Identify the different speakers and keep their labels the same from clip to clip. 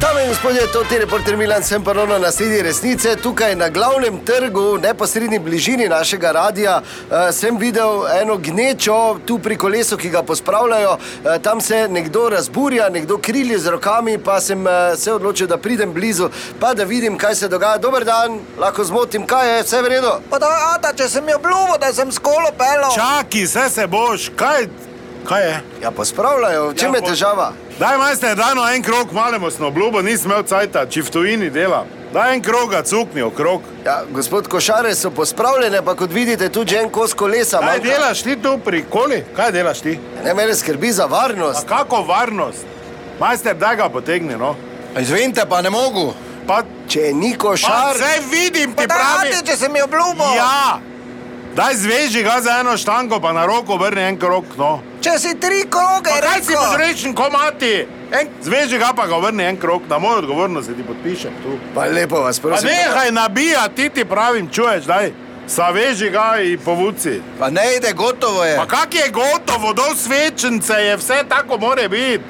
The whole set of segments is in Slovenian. Speaker 1: Dame in gospodje, to je reporter Milan, sem ponovno na sredi resnice, tukaj na glavnem trgu, v neposrednji bližini našega radia. Uh, sem videl eno gnečo tu pri kolesu, ki ga pospravljajo. Uh, tam se nekdo razburja, nekdo krili z rokami, pa sem uh, se odločil, da pridem blizu, pa da vidim, kaj se dogaja. Dober dan, lahko zmotim, kaj je, vse v redu.
Speaker 2: Pa da, ata, če sem jo obljubil, da sem skolo pelal.
Speaker 3: Čaki, vse se boš, kaj, kaj je?
Speaker 1: Ja, pospravljajo, v čem
Speaker 3: Ja,
Speaker 1: je
Speaker 3: po-
Speaker 1: težava?
Speaker 3: Daj, majster, daj no en krog, malemu smo obljubo, nisem imel cajta, če v tujini dela. Daj en krog, ga cukni okrog.
Speaker 1: Ja, gospod Košare so pospravljene, pa kot vidite, tudi že en kos kolesa.
Speaker 3: Kaj
Speaker 1: manjka.
Speaker 3: delaš ti tu pri koli? Kaj delaš ti?
Speaker 1: Ne, mene skrbi za
Speaker 3: A
Speaker 1: varnost.
Speaker 3: kako varnost? Majster, daj ga potegni, no.
Speaker 4: Izvinite, pa ne mogu.
Speaker 3: Pa,
Speaker 1: Če je ni
Speaker 3: pa
Speaker 1: košar,
Speaker 3: vse vidim,
Speaker 2: Pa
Speaker 3: ti
Speaker 2: da,
Speaker 3: pravi.
Speaker 2: ata, če sem jo obljubil.
Speaker 3: Ja, daj zveži ga za eno štango, pa na roko vrni en krog, no.
Speaker 2: Če si tri kroge,
Speaker 3: Pa Kaj si
Speaker 2: rekel.
Speaker 3: požrečen komati? En, zveži ga pa ga vrni en krog, na mojo odgovornost se ti podpišem tu.
Speaker 1: pa lepo vas
Speaker 3: Pa
Speaker 1: prosim.
Speaker 3: nehaj nabijati, ti ti pravim, čuješ, daj. Saveži ga in povuci.
Speaker 1: E.
Speaker 4: Pa ne ide, gotovo je.
Speaker 3: Pa kak je gotovo, do svečnice je vse tako more biti.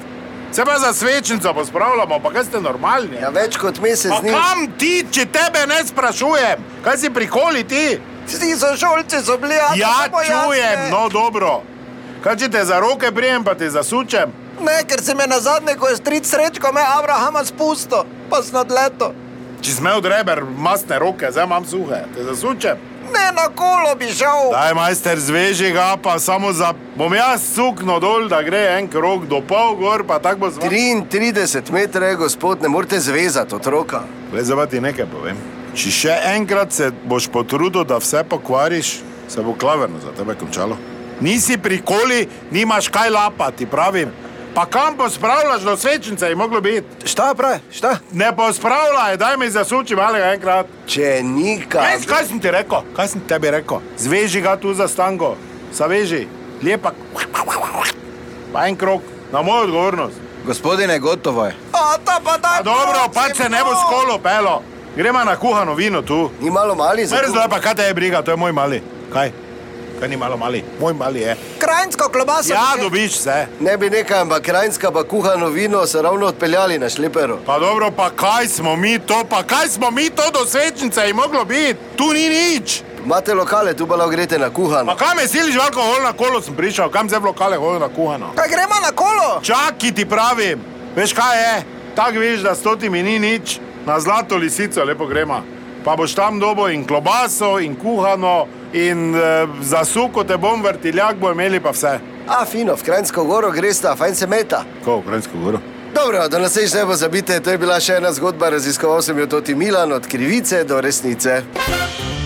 Speaker 3: Se pa za svečnico pospravljamo, pa kaj ste normalni?
Speaker 1: Ja, več kot mesec
Speaker 3: Pa
Speaker 1: dni.
Speaker 3: kam ti, če tebe ne sprašujem? Kaj si prikoli ti?
Speaker 2: Vsi sošolci so bili, ata,
Speaker 3: Ja,
Speaker 2: samo jaz ne.
Speaker 3: čujem, no dobro. Kaj če te za roke prijem, pa te zasučem?
Speaker 2: Ne, ker si me na zadnje, ko je stric srečko, me Abrahama spustil, pa sem odletel.
Speaker 3: Če smel dreber, masne roke, zdaj imam suhe, te zasučem.
Speaker 2: Ne, na kolo bi šel.
Speaker 3: Daj, majster, zveži ga, pa samo za... Bom jaz sukno dol, da gre en krog do pol gor, pa tako bo zvon.
Speaker 1: 33 metrov, gospod, ne morete zvezati otroka.
Speaker 3: Le zdaj pa ti nekaj povem. Če še enkrat se boš potrudil, da vse pokvariš, se bo klaverno za tebe končalo. Nisi prikoli, nimaš kaj lapati, pravim. Pa kam pospravljaš do svečnice, je moglo biti.
Speaker 4: Šta pravi, šta?
Speaker 3: Ne pospravljaj, daj mi zasuči malega enkrat.
Speaker 1: Če ni
Speaker 3: Kaj,
Speaker 1: kaj.
Speaker 3: kaj sem ti rekel? Kaj sem tebi rekel? Zveži ga tu za stango, zaveži, lepak. Pa en krok, na mojo odgovornost.
Speaker 4: Gospodine, gotovo je.
Speaker 2: Ata, pa da.
Speaker 3: A dobro, pa se ne bo skolo pelo. Gremo na kuhano vino tu.
Speaker 1: Ni malo mali za
Speaker 3: Mrzlo je pa, kaj te je briga, to je moj mali. Kaj? Kaj ni malo mali? Moj mali je.
Speaker 2: Krajinsko klobasa.
Speaker 3: Ja, dobiš vse.
Speaker 1: Ne bi nekaj, ampak krajinska pa kuhano vino so ravno odpeljali na šleperu.
Speaker 3: Pa dobro, pa kaj smo mi to, pa kaj smo mi to do svečnice je moglo biti? Tu ni nič.
Speaker 1: Imate lokale, tu pa lahko greste na kuhano.
Speaker 3: Pa kam me siliš v alkohol na kolo sem prišel, kam zdaj v lokale hodim na kuhano?
Speaker 2: Kaj gremo na kolo?
Speaker 3: Čaki ti pravim, veš kaj je? Tako veš, da s totimi ni nič, na zlato lisico lepo gremo. Pa boš tam dobo in klobaso, in kuhano, in e, za suko te bom vrtiljak, bo imeli pa vse.
Speaker 1: A fino, v Krajinsko goro greste, fajn se meta.
Speaker 3: Ko, ukrajinsko goro?
Speaker 1: Dobro, da nas več ne bo zabite, to je bila še ena zgodba, raziskoval sem jo Toti Milan, od krivice do resnice.